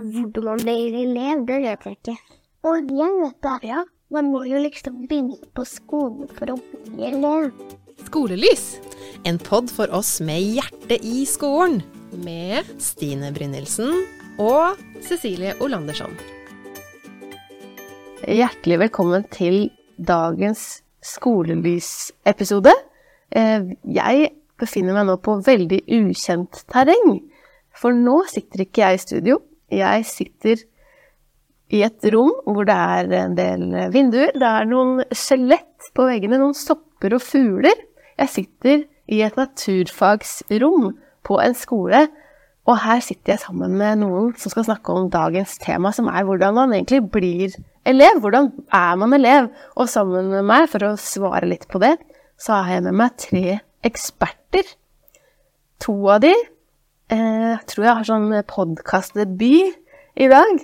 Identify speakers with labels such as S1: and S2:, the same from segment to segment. S1: Hvordan man blir elev, det vet jeg ikke. Og jeg vet det. Ja. Man må jo liksom begynne på skolen for å bli elev.
S2: Skolelys
S3: En pod for oss med hjertet i skolen.
S2: med
S3: Stine Brynildsen og
S2: Cecilie Olandersson.
S4: Hjertelig velkommen til dagens skolelysepisode. Eh, Jeg befinner meg nå på veldig ukjent terreng. For nå sitter ikke jeg i studio. Jeg sitter i et rom hvor det er en del vinduer. Det er noen skjelett på veggene, noen sopper og fugler. Jeg sitter i et naturfagsrom på en skole, og her sitter jeg sammen med noen som skal snakke om dagens tema, som er hvordan man egentlig blir elev. Hvordan er man elev? Og sammen med meg, for å svare litt på det, så har jeg med meg tre eksperter. To av de eh, tror jeg har sånn podkastdebut i dag.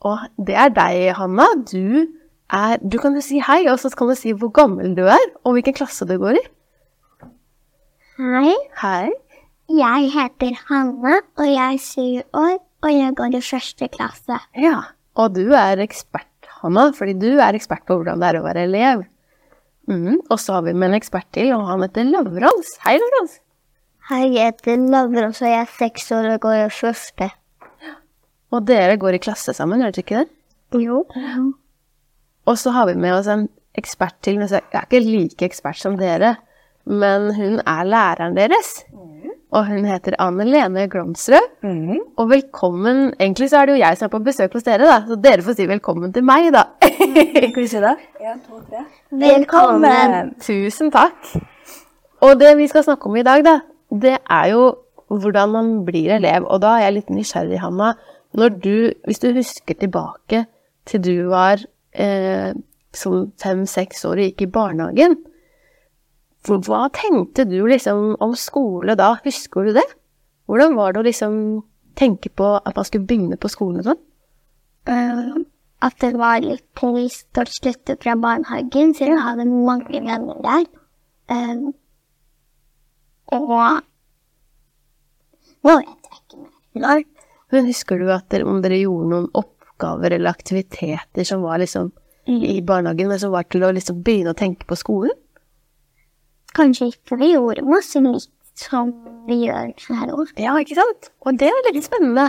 S4: Og det er deg, Hanna. Du, er, du kan jo si hei, og så kan du si hvor gammel du er, og hvilken klasse du går i.
S1: Hei,
S4: Hei.
S1: jeg heter Hanna, og jeg er syv år, og jeg går i første klasse.
S4: Ja. Og du er ekspert, Hanna, fordi du er ekspert på hvordan det er å være elev. Mm, og så har vi med en ekspert til, og han heter Lavrans. Hei, Lavrans.
S1: Hei, jeg heter Lavros, og jeg er seks år og går i første.
S4: Og dere går i klasse sammen, gjør dere ikke det?
S1: Jo.
S4: Og så har vi med oss en ekspert til. men så- Jeg er ikke like ekspert som dere, men hun er læreren deres. Og hun heter Anne Lene Glomsrød. Og velkommen Egentlig så er det jo jeg som er på besøk hos dere, da, så dere får si velkommen til meg, da.
S5: Skal vi si det? En, to, tre.
S1: Velkommen!
S4: Tusen takk. Og det vi skal snakke om i dag, da, det er jo hvordan man blir elev. Og da er jeg litt nysgjerrig, Hanna. Når du, hvis du husker tilbake til du var eh, sånn fem-seks år og gikk i barnehagen, hvor- hva tenkte du liksom om skole da? Husker du det? Hvordan var det å liksom tenke på at man skulle begynne på skolen og sånn?
S1: Eh, At det var litt trist å slutte fra barnehagen, siden jeg hadde mange venner der. Eh, og Nå vet jeg ikke mer. Nei.
S4: Men husker du at dere, om dere gjorde noen oppgaver eller aktiviteter som var liksom i barnehagen, men som var til å liksom begynne å tenke på skolen?
S1: Kanskje ikke vi gjorde masse likt som vi gjør her òg.
S4: Ja, ikke sant? Og det er veldig spennende.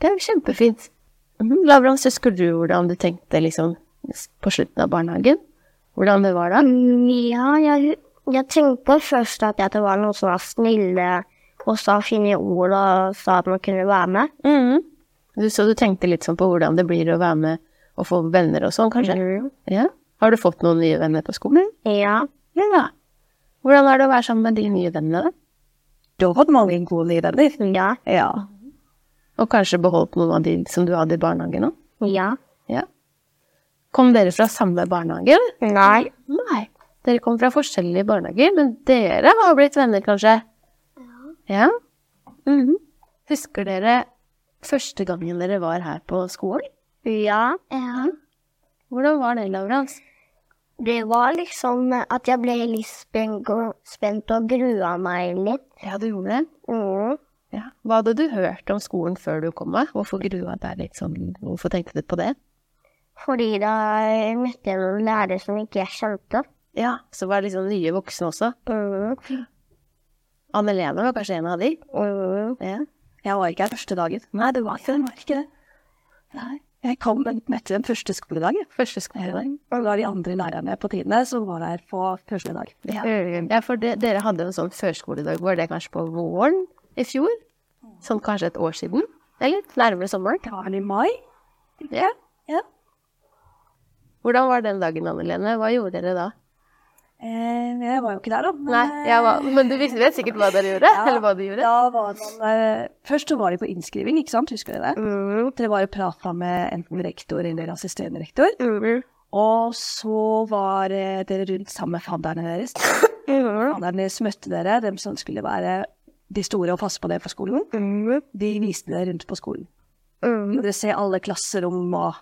S4: Det er jo kjempefint. Mhm. Lavrans, husker du hvordan du tenkte liksom på slutten av barnehagen? Hvordan det var da?
S1: Ja, jeg, jeg tenkte først at det var noen som var snille og sa fine ord og sa at man kunne være med.
S4: Mhm. Du, så du tenkte litt sånn på hvordan det blir å være med og få venner og sånn, kanskje? Ja. Har du fått noen nye venner på skolen?
S1: Ja.
S4: Ja. Hvordan er det å være sammen med de nye vennene? da?
S5: Da hadde man en god liv, eller?
S1: Ja.
S5: Ja.
S4: Og kanskje beholdt noen av de som du hadde i barnehagen òg?
S1: Ja.
S4: Ja. Kom dere fra samme barnehage? eller?
S1: Nei.
S4: Nei. Dere kom fra forskjellige barnehager, men dere har blitt venner, kanskje? Ja. Mhm. Husker dere første gangen dere var her på skolen?
S1: Ja. Eh, ja.
S4: Hvordan var det, Laurans?
S1: Det var liksom at jeg ble litt spent og, spent og grua meg litt.
S4: Ja, du gjorde det.
S1: Mm.
S4: Ja. Hva hadde du hørt om skolen før du kom? da? Hvorfor grua deg litt sånn? Hvorfor tenkte du på det?
S1: Fordi da møtte jeg noen lærere som ikke jeg kjente.
S4: Ja, Så var det liksom nye voksne også.
S1: Mm.
S4: Anne Lene var kanskje en av de?
S1: Mm.
S4: Ja.
S5: Jeg var ikke her første dagen. Nei, det var ikke det. Var ikke det. Nei. Jeg kom etter den første skoledagen.
S4: Første
S5: Ja.
S4: skoledag.
S5: Og da de andre lærerne på tidene som var her på første dag.
S4: Ja, for det, dere hadde en sånn førskoledag. Var det kanskje på våren i fjor? Sånn kanskje et år siden? Eller nærmere sommeren?
S5: Det var den i mai.
S4: Ja.
S5: Ja.
S4: Hvordan var den dagen, Anne Lene? Hva gjorde dere da?
S5: Eh, jeg var jo ikke der, da. men,
S4: Nei, jeg var, Men du visste vet sikkert hva dere gjorde?
S5: Ja,
S4: Eller hva de gjorde?
S5: Da var man, eh, først så var de på innskriving, ikke sant? Husker dere det?
S1: Mm.
S5: Dere var og prata med enten rektor eller assisterende rektor.
S1: Mm.
S5: Og så var eh, dere rundt sammen med fadderne deres.
S1: Mm.
S5: Fadderne deres møtte dere, dem som skulle være de store og passe på dere på skolen.
S1: Mm.
S5: De viste dere rundt på skolen.
S1: Mm.
S5: Dere ser alle klasserom og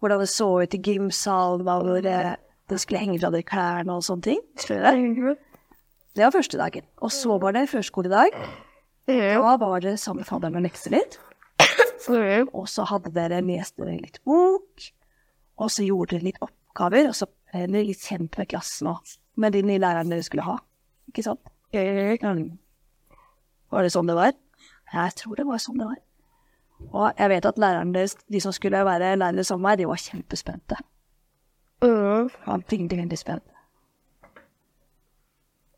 S5: hvordan det så ut i gymsalen, hva hvor eh, det skulle henge fra dere klærne og sånne ting. Husker dere det? Det var første dagen. Og så var det førskoledag. Da var dere sammen med fadderne og lekser litt. Og så hadde dere lest dere litt bok, og så gjorde dere litt oppgaver, og så ble dere litt kjent med klassen og med de nye lærerne dere skulle ha. Ikke sant? Mm. Var det sånn det var? Jeg tror det var sånn det var. Og jeg vet at lærerne deres, de som skulle være lærere sammen med meg, de var kjempespente. De var Veldig, veldig spente.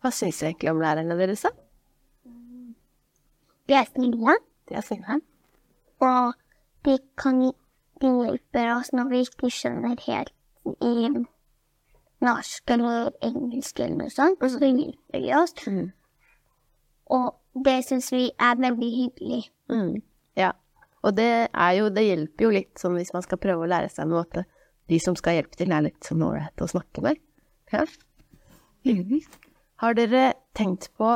S4: Hva syns dere egentlig om lærerne deres, da?
S1: De er snille,
S4: De er snille.
S1: og de kan de hjelper oss når vi ikke skjønner helt i norsk eller engelsk eller noe sånt, og så hjelper de oss. Og det syns vi er veldig hyggelig.
S4: Mm. Ja. Og det, er jo, det hjelper jo litt sånn hvis man skal prøve å lære seg noe at de som skal hjelpe til, er litt sånn ålreite å snakke med. Ja. Har dere tenkt på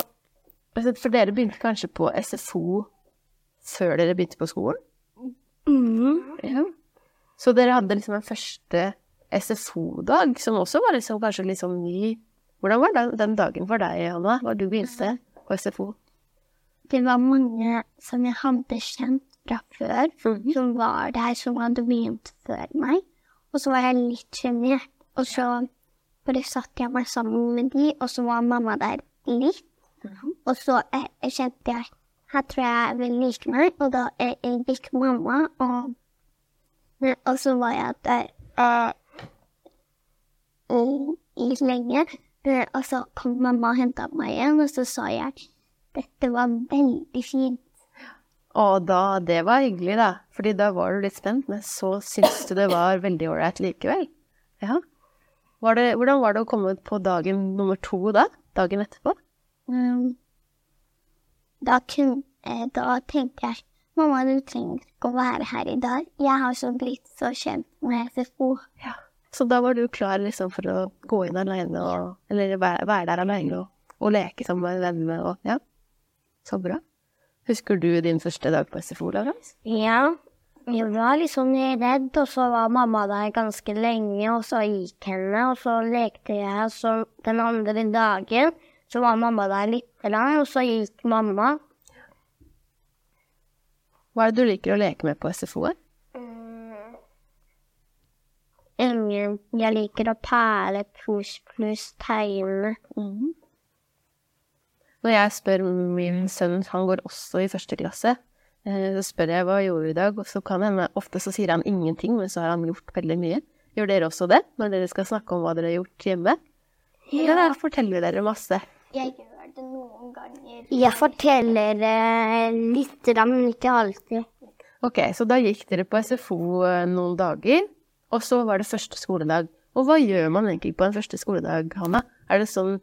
S4: For dere begynte kanskje på SFO før dere begynte på skolen? Ja. Så dere hadde liksom en første SFO-dag, som også var liksom, kanskje litt sånn ny. Hvordan var den, den dagen for deg, Hanna? Var du begynte på SFO?
S1: det var mange som jeg hadde kjent fra før, som var der, som hadde begynt før meg. Og så var jeg litt sjenert. Og så bare satte jeg meg sammen med de, og så var mamma der litt. Og så eh, jeg kjente jeg her tror jeg vil like meg, og da eh, eh, gikk mamma, og, eh, og så var jeg der eh, eh, litt lenge. Eh, Og så kom mamma og henta meg igjen, og så sa jeg dette var veldig fint.
S4: Og da, det var hyggelig, da. Fordi da var du litt spent, men så syntes du det var veldig ålreit likevel. Ja. Var det, hvordan var det å komme på dagen nummer to da? Dagen etterpå?
S1: Um, da, kun, eh, da tenkte jeg Mamma, du trenger ikke å være her i dag. Jeg har så blitt så kjent med SFO.
S4: Så da var du klar liksom for å gå inn alene og Eller væ- være der alene og, og leke sammen med vennene og Ja. Så bra. Husker du din første dag på SFO, Laurens?
S1: Ja, jeg var litt sånn redd, og så var mamma der ganske lenge, og så gikk henne, og så lekte jeg, og så den andre dagen, så var mamma der litt, lang, og så gikk mamma.
S4: Hva er det du liker å leke med på SFO? -et?
S1: Um, Jeg liker å pære pluss pluss tegne.
S4: Når jeg spør min sønn, han går også i første klasse, eh, så spør jeg hva gjorde du i dag, og så kan hende ofte så sier han ingenting, men så har han gjort veldig mye. Gjør dere også det, når dere skal snakke om hva dere har gjort hjemme? Eller da forteller dere masse?
S1: Jeg gjør det noen ganger. Jeg forteller eh, litt, da, men ikke alltid.
S4: Ok, så da gikk dere på SFO eh, noen dager, og så var det første skoledag. Og hva gjør man egentlig på en første skoledag, Hanna? Er det sånn,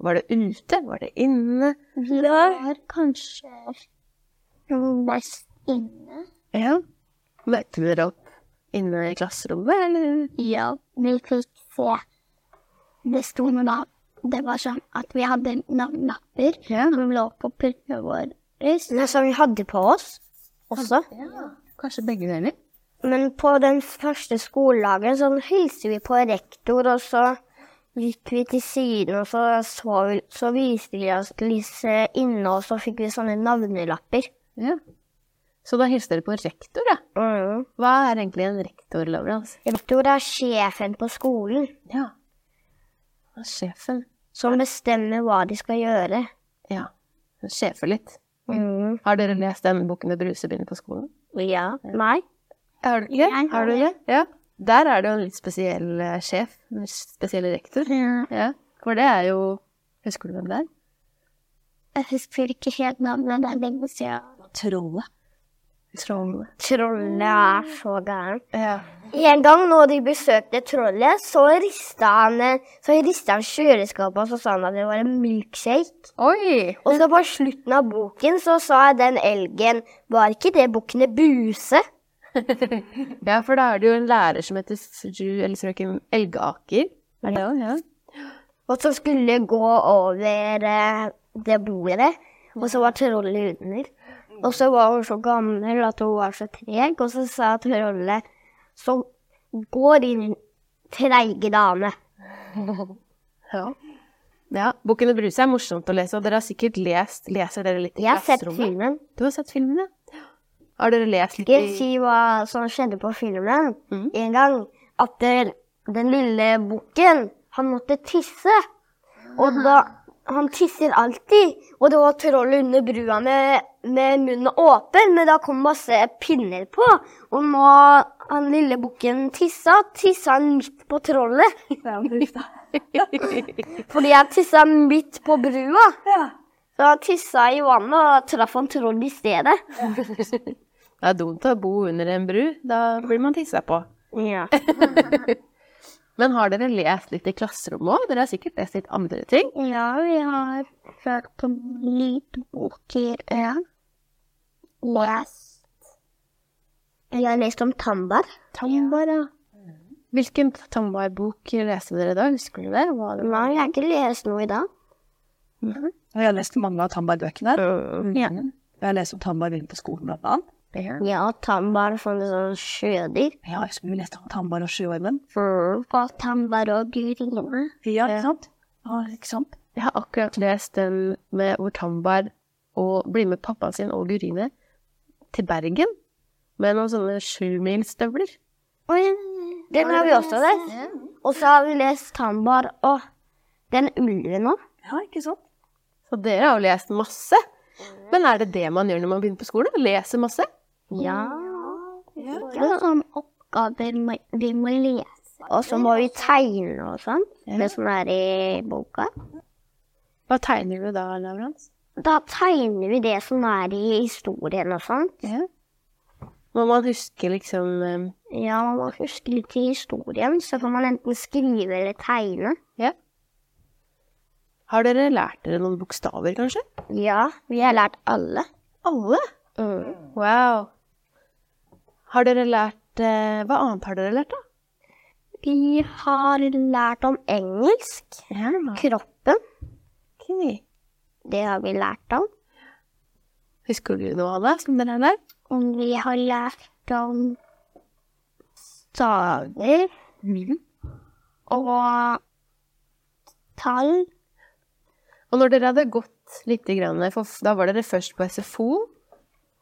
S4: var det ute, var det inne?
S1: Vi var kanskje mest inne.
S4: Ja. Møtte dere opp inne i klasserommet, eller?
S1: Ja, vi fikk se. Det sto noe da. Det var sånn at vi hadde navnlapper
S4: Ja.
S1: som lå på pultene våre. Som vi hadde på oss også.
S4: Kanskje begge deler?
S1: Men på den første skoledagen så hilste vi på rektor, og så gikk vi til siden, og så, så, vi, så viste de oss lyset inne, og så fikk vi sånne navnelapper.
S4: Ja. Så da hilser dere på rektor, da. Hva er egentlig en rektor, Laurens?
S1: Rektor er sjefen på skolen,
S4: Ja. Han er sjefen.
S1: som bestemmer hva de skal gjøre.
S4: Ja. Han sjefer litt. Har dere lest den boken med brusebinder på skolen?
S1: Ja. Nei.
S4: Har du
S1: Jeg har
S4: Har du det? Ja. Der er det jo en litt spesiell eh, sjef. En spesiell rektor. Ja. For det er jo Husker du hvem det er?
S1: Jeg husker ikke helt navnet, det er lenge siden.
S5: Trollet.
S4: Trollet.
S1: Trollet er så gærent.
S4: Ja.
S1: En gang når de besøkte trollet, så rista han, eh, så rista han kjøleskapet og så sa han at det var en milkshake.
S4: Oi!
S1: Og så på slutten av boken så sa den elgen Var ikke det bukkene Buse?
S4: Ja, for da er det jo en lærer som heter fru eller frøken Elgaker. Er det jo, ja.
S1: Og som skulle gå over eh, det bordet, og så var trollet under. Og så var hun så gammel at hun var så treg, og så sa trollet Så går inn, treige dame.
S4: Ja. ja. Bukken og Bruse er morsomt å lese, og dere har sikkert lest Leser dere litt i
S1: Jeg har sett
S4: klasserommet?
S1: filmen.
S4: Du har sett filmen, ja. Har dere lest litt
S1: ikke
S4: i
S1: si hva som skjedde på filmen. En gang at eh, den lille bukken, han måtte tisse. Og da Han tisser alltid. Og det var troll under brua med, med munnen åpen, men da kom masse pinner på. Og nå han lille bukken tissa, tissa han midt på trollet.
S5: sånn.
S1: Fordi jeg tissa midt på brua. Så jeg tissa i vannet og traff en troll i stedet.
S4: Det er dumt å bo under en bru. Da blir man tissa på.
S1: Ja.
S4: Men har dere lest litt i klasserommet òg? Dere har sikkert lest litt andre ting.
S1: Ja, vi har hørt på lydboker. Ja. Lest Jeg har lest om Tambar.
S4: Tambar, ja. Hvilken Tambar-bok leste dere da? Husker dere det? Hva det?
S1: Nei, jeg har ikke lest noe i dag.
S5: Og jeg har lest mange av Tambar-bøkene.
S1: Ja.
S5: Mm. Jeg har lest om Tambar inn på skolen, blant annet.
S1: Ja, Tambar for en sånn sjødyr.
S5: Ja, jeg skulle lest om Tambar og sjøormen.
S1: Og Tambar og Gurine.
S5: Ja, ikke sant? Ja, ikke sant?
S4: Jeg har akkurat lest den med hvor Tambar og blir med pappaen sin og Gurine til Bergen med noen sånne sjumilsstøvler.
S1: Den har vi også lest. Og så har vi lest Tambar og den ulven òg.
S5: Ja, ikke sant?
S4: Så dere har jo lest masse. Men er det det man gjør når man begynner på skolen? Leser masse?
S1: Ja. Det er sånn oppgaver må- vi må lese. Og så må vi tegne og sånn. Det som er i boka.
S4: Hva tegner du da, Lavrans?
S1: Da tegner vi det som er i historien og sånn.
S4: Må man huske liksom eh,
S1: Ja, man må huske litt i historien, så kan man enten skrive eller tegne.
S4: Har dere lært dere noen bokstaver, kanskje?
S1: Ja, vi har lært alle. Mm.
S4: Alle? Wow. Har dere lært eh, Hva annet har dere lært, da?
S1: Vi har lært om engelsk.
S4: Ja,
S1: Kroppen,
S4: ok.
S1: det har vi lært om.
S4: Husker du noe av det som dere har lært?
S1: Og vi har lært om staver.
S4: Mm.
S1: Og tall.
S4: Og når dere hadde gått litt, grann, for f- da var dere først på SFO,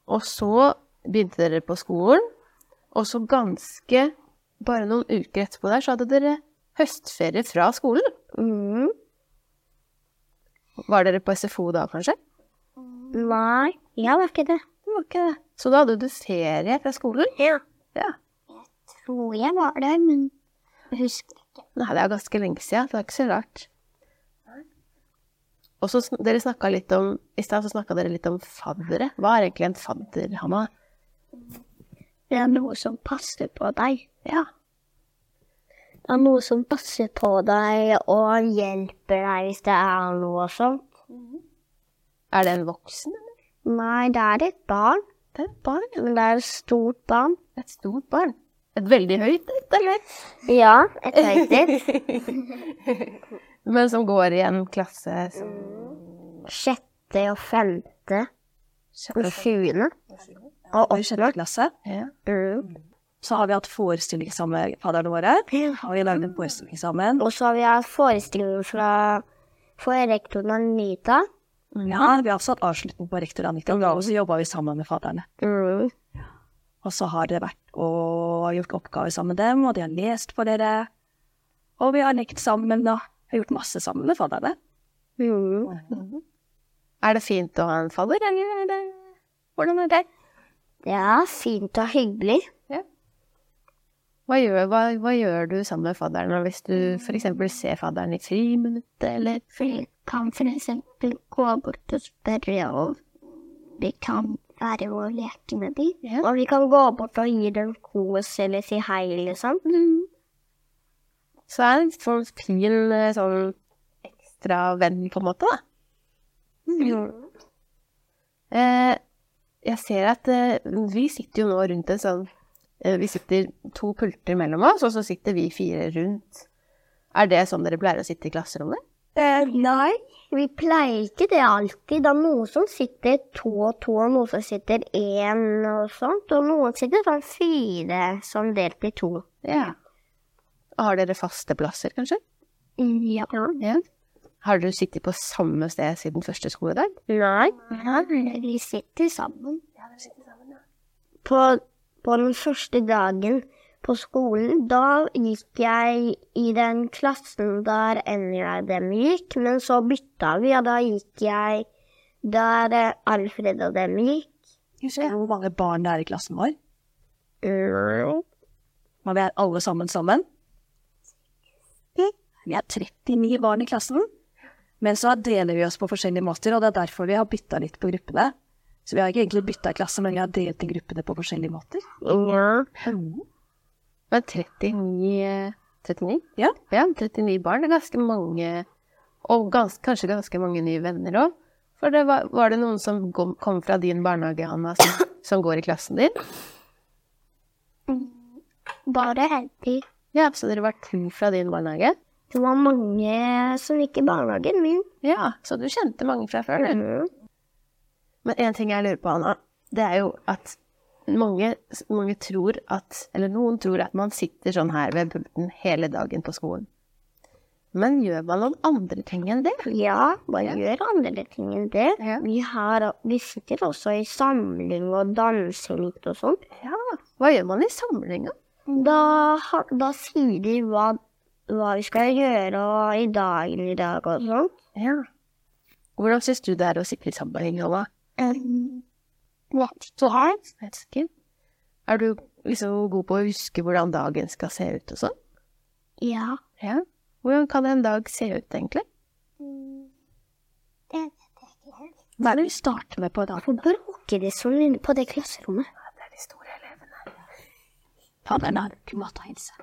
S4: og så begynte dere på skolen, og så ganske bare noen uker etterpå der, så hadde dere høstferie fra skolen.
S1: Mm.
S4: Var dere på SFO da, kanskje?
S1: Nei, jeg var ikke det.
S4: Det var ikke det. Så da hadde du ferie fra skolen?
S1: Ja.
S4: Ja.
S1: Tror jeg var der, men jeg husker
S4: Nei, det er ganske lenge siden, så det er ikke så rart. Og så sn- dere snakket litt om, i sted så snakket dere litt om faddere. Hva er egentlig en fadder, Hanna?
S1: det er noe som passer på deg.
S4: Ja.
S1: Det er noe som passer på deg og hjelper deg hvis det er noe sånt.
S4: Er det en voksen, eller?
S1: Nei, det er et barn,
S4: Det er et barn, ja.
S1: men det er et stort barn.
S4: Et stort barn. Et veldig høyt et, eller?
S1: Ja, et høytid.
S4: Men som går i en klasse som
S1: Sjette og femte og sjuende.
S5: Og i sjette klasse
S4: ja.
S1: Mm.
S5: så har vi hatt forestilling sammen med fadderne våre. Og vi lagde en forestilling sammen.
S1: Og så har vi hatt forestillinger fra for rektoren Anita.
S5: Ja, vi har også hatt avslutning på rektor Anita, og så jobba vi sammen med fadderne.
S1: Mm.
S5: Og så har det vært og gjort oppgaver sammen med dem, og de har lest for dere. Og vi har lekt sammen, og har gjort masse sammen med fadderne.
S1: Mm.
S4: Er det fint å ha en fadder, eller er det Hvordan er det?
S1: Det er fint og hyggelig.
S4: Hva gjør, hva, hva gjør du sammen med fadderen og hvis du f.eks. ser fadderen i friminuttet, eller
S1: For jeg kan for eksempel gå bort og spørre om vi kan være og leke med dem.
S4: Ja.
S1: Og vi kan gå bort og gi dem kos eller si hei, liksom.
S4: Så er det en sånn fin eh, sånn ekstra venn, på en måte, da.
S1: Mm.
S4: Eh, jeg ser at eh, vi sitter jo nå rundt en sånn eh, Vi sitter to pulter mellom oss, og så sitter vi fire rundt. Er det sånn dere pleier å sitte i klasserommet?
S1: Eh, nei. Vi pleier ikke det alltid. Det er noen som sitter to og to, og noen som sitter én og sånt. Og noen sitter sånn fire som delt i to.
S4: Ja. Har dere faste plasser, kanskje?
S1: Ja.
S4: Ja. Har dere sittet på samme sted siden første skoledag?
S1: Nei. Vi sitter sammen. på, på den første dagen på skolen, da gikk jeg i den klassen der Ellie og dem gikk, men så bytta vi, og da gikk jeg der eh, Alfred og dem gikk.
S5: Husker du hvor mange barn det er i klassen vår?
S1: Mm.
S5: Men vi er alle sammen sammen. Vi er 39 barn i klassen. Men så deler vi oss på forskjellige måter, og det er derfor vi har bytta litt på gruppene. Så vi har ikke egentlig bytta klasse, men vi har delt i gruppene på forskjellige måter.
S4: Men 39 eh, 39?
S5: Ja.
S4: ja, 39 barn det er ganske mange, og gans, kanskje ganske mange nye venner òg. For det var, var det noen som kom kom fra din barnehage, Hanna, som, som går i klassen din?
S1: Bare heldig.
S4: Ja, så dere var to fra din barnehage?
S1: Det var mange som gikk i barnehagen min.
S4: Ja, så du kjente mange fra før, du.
S1: Mm.
S4: Men én ting jeg lurer på, Hanna, det er jo at mange, mange tror at Eller noen tror at man sitter sånn her ved pulten hele dagen på skolen. Men gjør man noen andre ting enn det?
S1: Ja, man gjør andre ting enn det.
S4: Ja.
S1: Vi, har, vi sitter også i samling og danser litt og sånn.
S4: Hva gjør man i samlinga?
S1: Da, ha- da sier de hva, hva vi skal gjøre og i dagen i dag og sånn.
S4: Ja. Hvordan syns du det er å sitte i sammenheng, Anna?
S5: Um,
S4: Jeg vet ikke. Er du liksom god på å huske hvordan dagen skal se ut og sånn?
S1: Ja.
S4: Ja. Hvordan kan en dag se ut, egentlig?
S5: Hva er det vi starter med på i dag?
S1: Hvorfor åker de sånn inne på det klasserommet?
S5: Fadderen har ikke mathelse.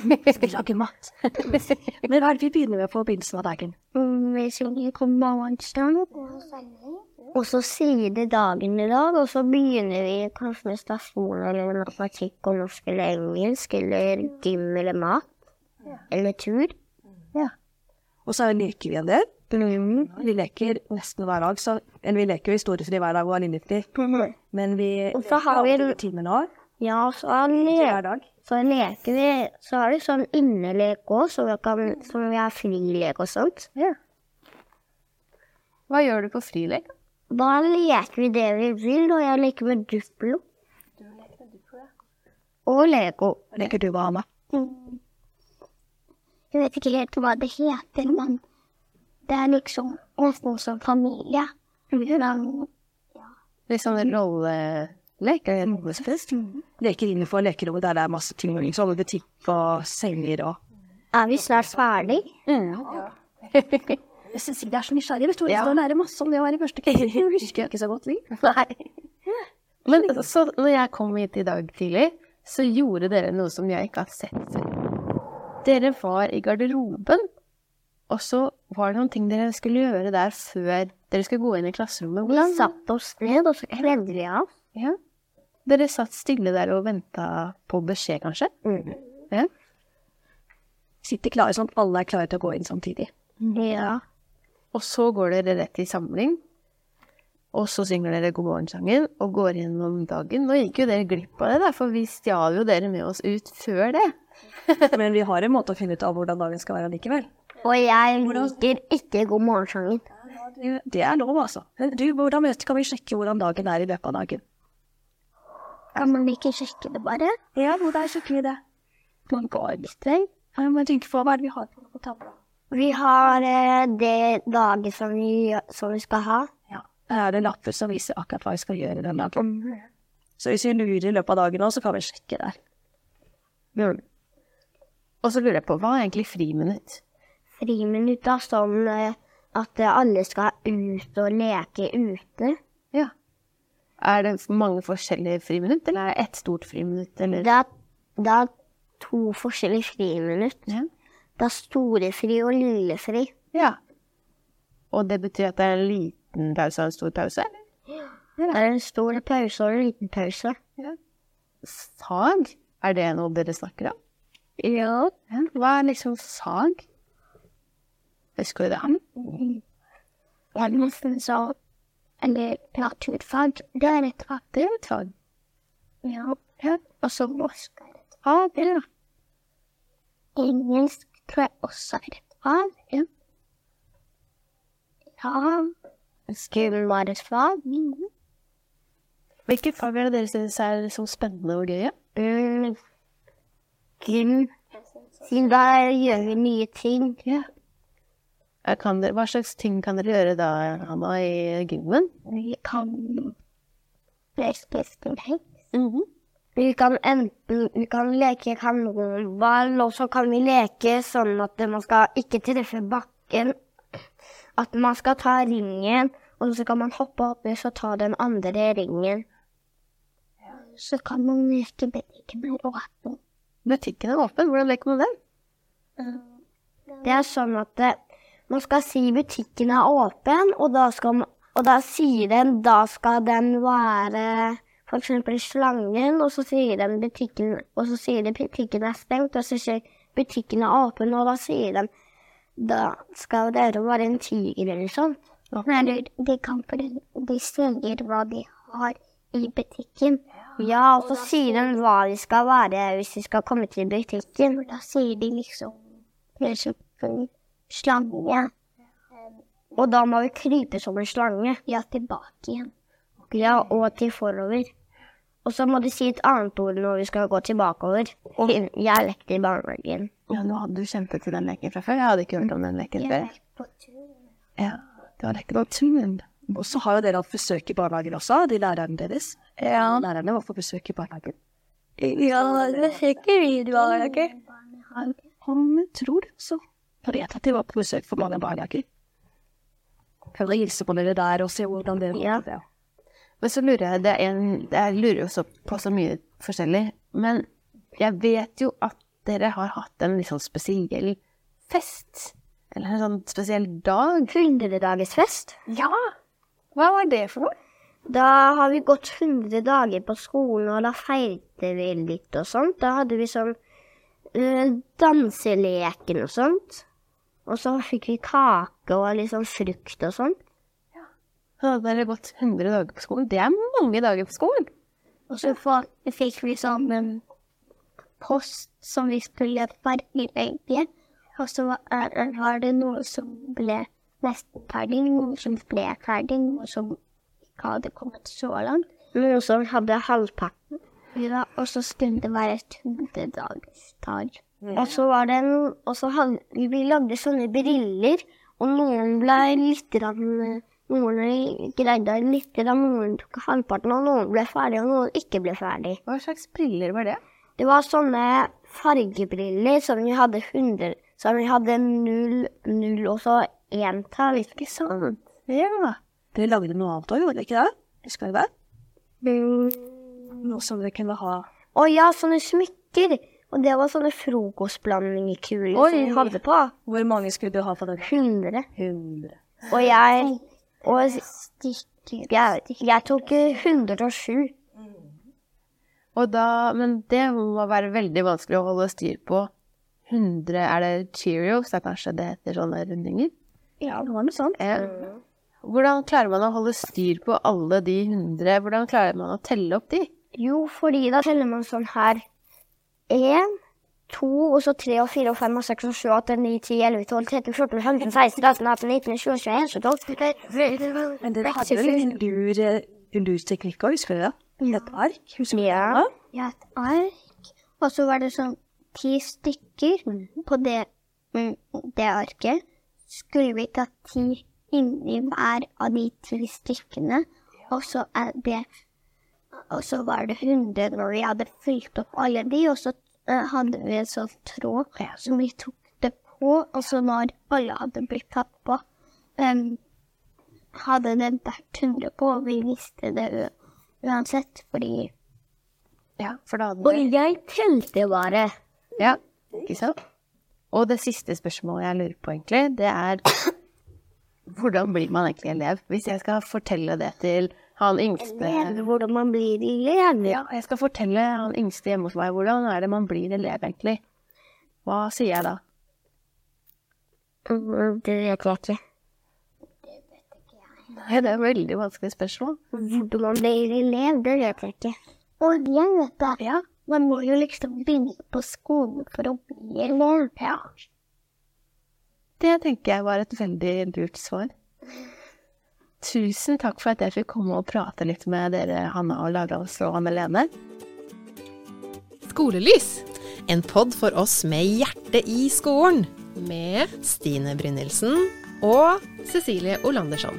S5: Skal vi lage mat? Men hva er det vi begynner med på begynnelsen av dagen? Um,
S1: Mm, Vi synger «Kom, morgenstund». Og så sier de dagen i dag, og så begynner vi kanskje med stasjoner eller matematikk og norsk eller engelsk eller gym eller mat. Eller tur.
S5: Og så leker vi en del.
S1: Mm.
S5: Vi leker nesten hver dag, så, eller vi leker jo historiefri hver dag og linjefri. Men vi
S1: Og så har vi-
S5: leker timer nå.
S1: Ja, og så, le
S5: Hver dag.
S1: så leker vi Så er det sånn innelek òg, så vi kan så vi har frilek og sånt.
S4: Hva gjør du på frilek?
S1: Da leker vi det vi vil, og jeg leker med Duplo. Og Lego.
S5: Leker du hva, Hanna?
S1: Jeg vet ikke helt hva det heter, men det er liksom nesten som familie. Hvordan-
S4: Litt sånn rollelek? eller Rollespill?
S5: Leker innenfor lekerommet der det er masse ting. Liksom, og butikk og senger og
S1: Er vi snart ferdig?
S5: Jeg synes ikke det er så nysgjerrig. Vet du, ja. lærer masse om det å være i første klasse. Jeg husker ikke så godt lenger.
S4: Men så når jeg kom hit i dag tidlig, så gjorde dere noe som jeg ikke har sett før. Dere var i garderoben, og så var det noen ting dere skulle gjøre der før dere skulle gå inn i klasserommet.
S1: Vi
S4: Hvordan?
S1: satte oss ned, og så kledde vi av.
S4: Ja. Dere satt stille der og venta på beskjed, kanskje?
S5: Sitter klare sånn at alle er klare til å gå inn samtidig.
S1: Ja.
S4: Og så går dere rett i samling. Og så synger dere God morgen-sangen og går gjennom dagen. Nå gikk jo dere glipp av det, da, for vi stjal jo dere med oss ut før det.
S5: Men vi har en måte å finne ut av hvordan dagen skal være likevel.
S1: Og jeg liker ikke God morgensangen.
S5: Det er lov, altså. Men du, hvordan vet, kan vi sjekke hvordan dagen er i løpet av dagen?
S1: Kan man ikke sjekke det, bare?
S5: Ja, hvordan sjekker vi det? Man går litt vei. Jeg må tenke på hva er det vi har på tavla.
S1: Vi har eh, det dagen som vi, som vi skal ha.
S5: Ja. Her er det lapper som viser akkurat hva vi skal gjøre den dagen. Så hvis vi lurer i løpet av dagen nå, så kan vi sjekke der.
S4: Og så lurer jeg på, hva er egentlig friminutt?
S1: Friminutta sånn eh, at alle skal ut og leke ute.
S4: Ja. Er det mange forskjellige friminutt, eller er det ett stort friminutt? Eller?
S1: Det er, det er to forskjellige friminutt.
S4: Ja.
S1: Det er storefri og lillefri.
S4: Ja. Og det betyr at det er en liten pause og en stor pause? eller?
S1: Det er en stor pause og en liten pause.
S4: Sag, er det noe dere snakker om?
S1: Ja.
S4: Ja. Hva er liksom sag? Husker du det?
S1: Det er nesten sånn Eller naturfag. Det er et fag.
S4: Det er jo et sag.
S1: Ja. Og så norsk er et
S4: Ja, det er det.
S1: Engelsk tror jeg også er et fag. Ja. Mm. ja. Skum var et fag.
S4: Hvilke fag er det dere syns er som spennende og gøye?
S1: Mm. Gym. Siden da gjør vi nye ting.
S4: Ja. Kan dere, hva slags ting kan dere gjøre da, Hanna, i gymmen?
S1: Vi kan Playstation.
S4: Mm-hmm.
S1: Vi kan enten vi kan leke kanonball, og så kan vi leke sånn at man skal ikke treffe bakken. At man skal ta ringen, og så kan man hoppe oppi og ta den andre ringen. Så kan man leke butikken med åpen.
S4: Butikken er åpen, hvordan leker man det?
S1: Det er sånn at eh, man skal si butikken er åpen, og da, skal man, og da sier den da skal den være for eksempel slangen, og så sier den butikken, og så sier det butikken er stengt, og så sier butikken er åpen, og da sier den da skal dere være en tiger eller sånn. Eller de kan for de sier hva de har i butikken. Ja, og så sier den hva de skal være hvis de skal komme til butikken. Da sier de liksom Kanskje en slange. Og da må vi krype som en slange. Ja, tilbake igjen. Ja, og til forover. Og så må de si et annet ord når vi skal gå tilbakeover. Jeg lekte i barnehagen.
S4: Ja, nå hadde du kjempet til den leken fra før. Jeg hadde ikke hørt om den leken før.
S5: Ja, det var lekkert og tull. Og så har jo dere hatt besøk i barnehagen også, de lærerne deres. Ja. Lærerne var på besøk i barnehagen.
S1: Ja, det sikkert vi i barnehagen.
S5: Han tror det, så. Jeg vet at de var på besøk for mange barnehager. Prøv å hilse på dere der og se hvordan dere
S1: Ja.
S5: det.
S4: Men så lurer jeg, det er en, jeg lurer jo så på så mye forskjellig, men jeg vet jo at dere har hatt en litt sånn spesiell fest, eller en sånn spesiell dag.
S1: Hundredagersfest.
S4: Ja! Hva var det for noe?
S1: Da har vi gått 100 dager på skolen, og da feirte vi litt og sånt. Da hadde vi sånn eh, danseleken og sånt. Og så fikk vi kake og litt sånn frukt og sånt.
S4: Så hadde dere gått 100 dager på skolen. Det er mange dager på skolen.
S1: Og så få- fikk vi sånn en post som vi skulle fargelegge. Og så var- er- var det noe som ble nesten ferdig, noe som ble ferdig, noe som ikke hadde kommet så langt. Noe som hadde halvparten. Ja, og så skulle det være et hundredagsdag. Og så var det en Og så hadde vi lagde sånne briller, og noen ble litt grann noen greide litt, da noen tok halvparten, og noen ble ferdig, og noen ikke ble ferdig.
S4: Hva slags briller var det?
S1: Det var sånne fargebriller som vi hadde 100, som vi hadde null, null og så entall. Ikke sant?
S4: Ja.
S5: Dere lagde noe annet òg, gjorde dere ikke det? Husker dere det?
S1: Å
S5: Noe som dere kunne ha
S1: ja, sånne smykker. Og det var sånne frokostblandingekuler
S5: Oi.
S1: som vi hadde på.
S5: Hvor mange skulle du ha på den?
S1: 100.
S5: 100.
S1: Og jeg og jeg, jeg tok eh, 107.
S4: Og da, men det må være veldig vanskelig å holde styr på. 100, er det Cheerios? Det er kanskje det heter sånne rundinger?
S5: Ja, det var noe sånt.
S4: Eh, Hvordan klarer man å holde styr på alle de 100? Hvordan klarer man å telle opp de?
S1: Jo, fordi da teller man sånn her. Én, to, og så tre og fire og fem og seks og sju, åtte, ni, ti, elleve, tolv, 13, 14, 15, 16, 18, 18, 19, 20, 21, 22,
S5: Men dere hadde jo en lur, eh, en lur teknikk òg, husker dere det? Et ark, husker dere
S1: Ja.
S5: det?
S1: Ja, et ark. Og så var det sånn ti stykker på det, mm, det arket. Skulle vi ta ti inni hver av de ti stykkene, og så er det Og så var det 100 når vi hadde fylt opp alle de, og så eh, hadde vi en sånn tråd som vi tok det på, og så når alle hadde blitt tatt på em, hadde det vært 100 på, og vi visste det u- uansett, fordi
S4: Ja, for da hadde
S1: og jeg telte bare.
S4: Ja, ikke sant? Og det siste spørsmålet jeg lurer på, egentlig, det er Hvordan blir man egentlig elev? Hvis jeg skal fortelle det til han yngste
S1: hvordan man blir elev.
S4: Ja, jeg skal fortelle han yngste hjemme hos meg hvordan er det man blir elev, egentlig. Hva sier jeg da?
S1: Mm, Det vet jeg ikke.
S4: Nei, det er et veldig vanskelig spørsmål.
S1: Hvordan man blir elev, det vet jeg ikke. Og jeg vet det.
S4: Ja.
S1: Man må jo liksom begynne på skolen for å bli elev. Ja.
S4: Det tenker jeg var et veldig lurt svar. Tusen takk for at jeg fikk komme og prate litt med dere, Hanna og Lavrans og Anne-Lene.
S2: Skolelys
S3: En pod for oss med hjerte i skolen.
S2: med
S3: Stine Brynildsen.
S2: og Cecilie Olandersson.